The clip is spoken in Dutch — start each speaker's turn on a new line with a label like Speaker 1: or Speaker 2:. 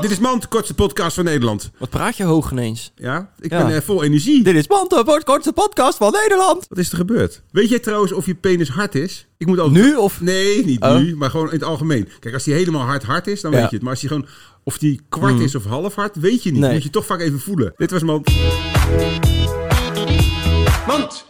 Speaker 1: Dit is Mand, kortste podcast van Nederland.
Speaker 2: Wat praat je hoog ineens?
Speaker 1: Ja, ik
Speaker 2: Ja.
Speaker 1: ben eh, vol energie.
Speaker 2: Dit is Manto, wordt kortste podcast van Nederland.
Speaker 1: Wat is er gebeurd? Weet jij trouwens of je penis hard is? Ik moet altijd...
Speaker 2: Nu of...
Speaker 1: Nee, niet
Speaker 2: Oh.
Speaker 1: nu, maar gewoon in het algemeen. Kijk, als die helemaal hard hard is, dan
Speaker 2: Ja. Mm.
Speaker 1: weet je het. Maar als die gewoon... Of die kwart is of half hard, weet je niet.
Speaker 2: Nee.
Speaker 1: Moet je toch vaak even voelen. Dit was Mand. Mand!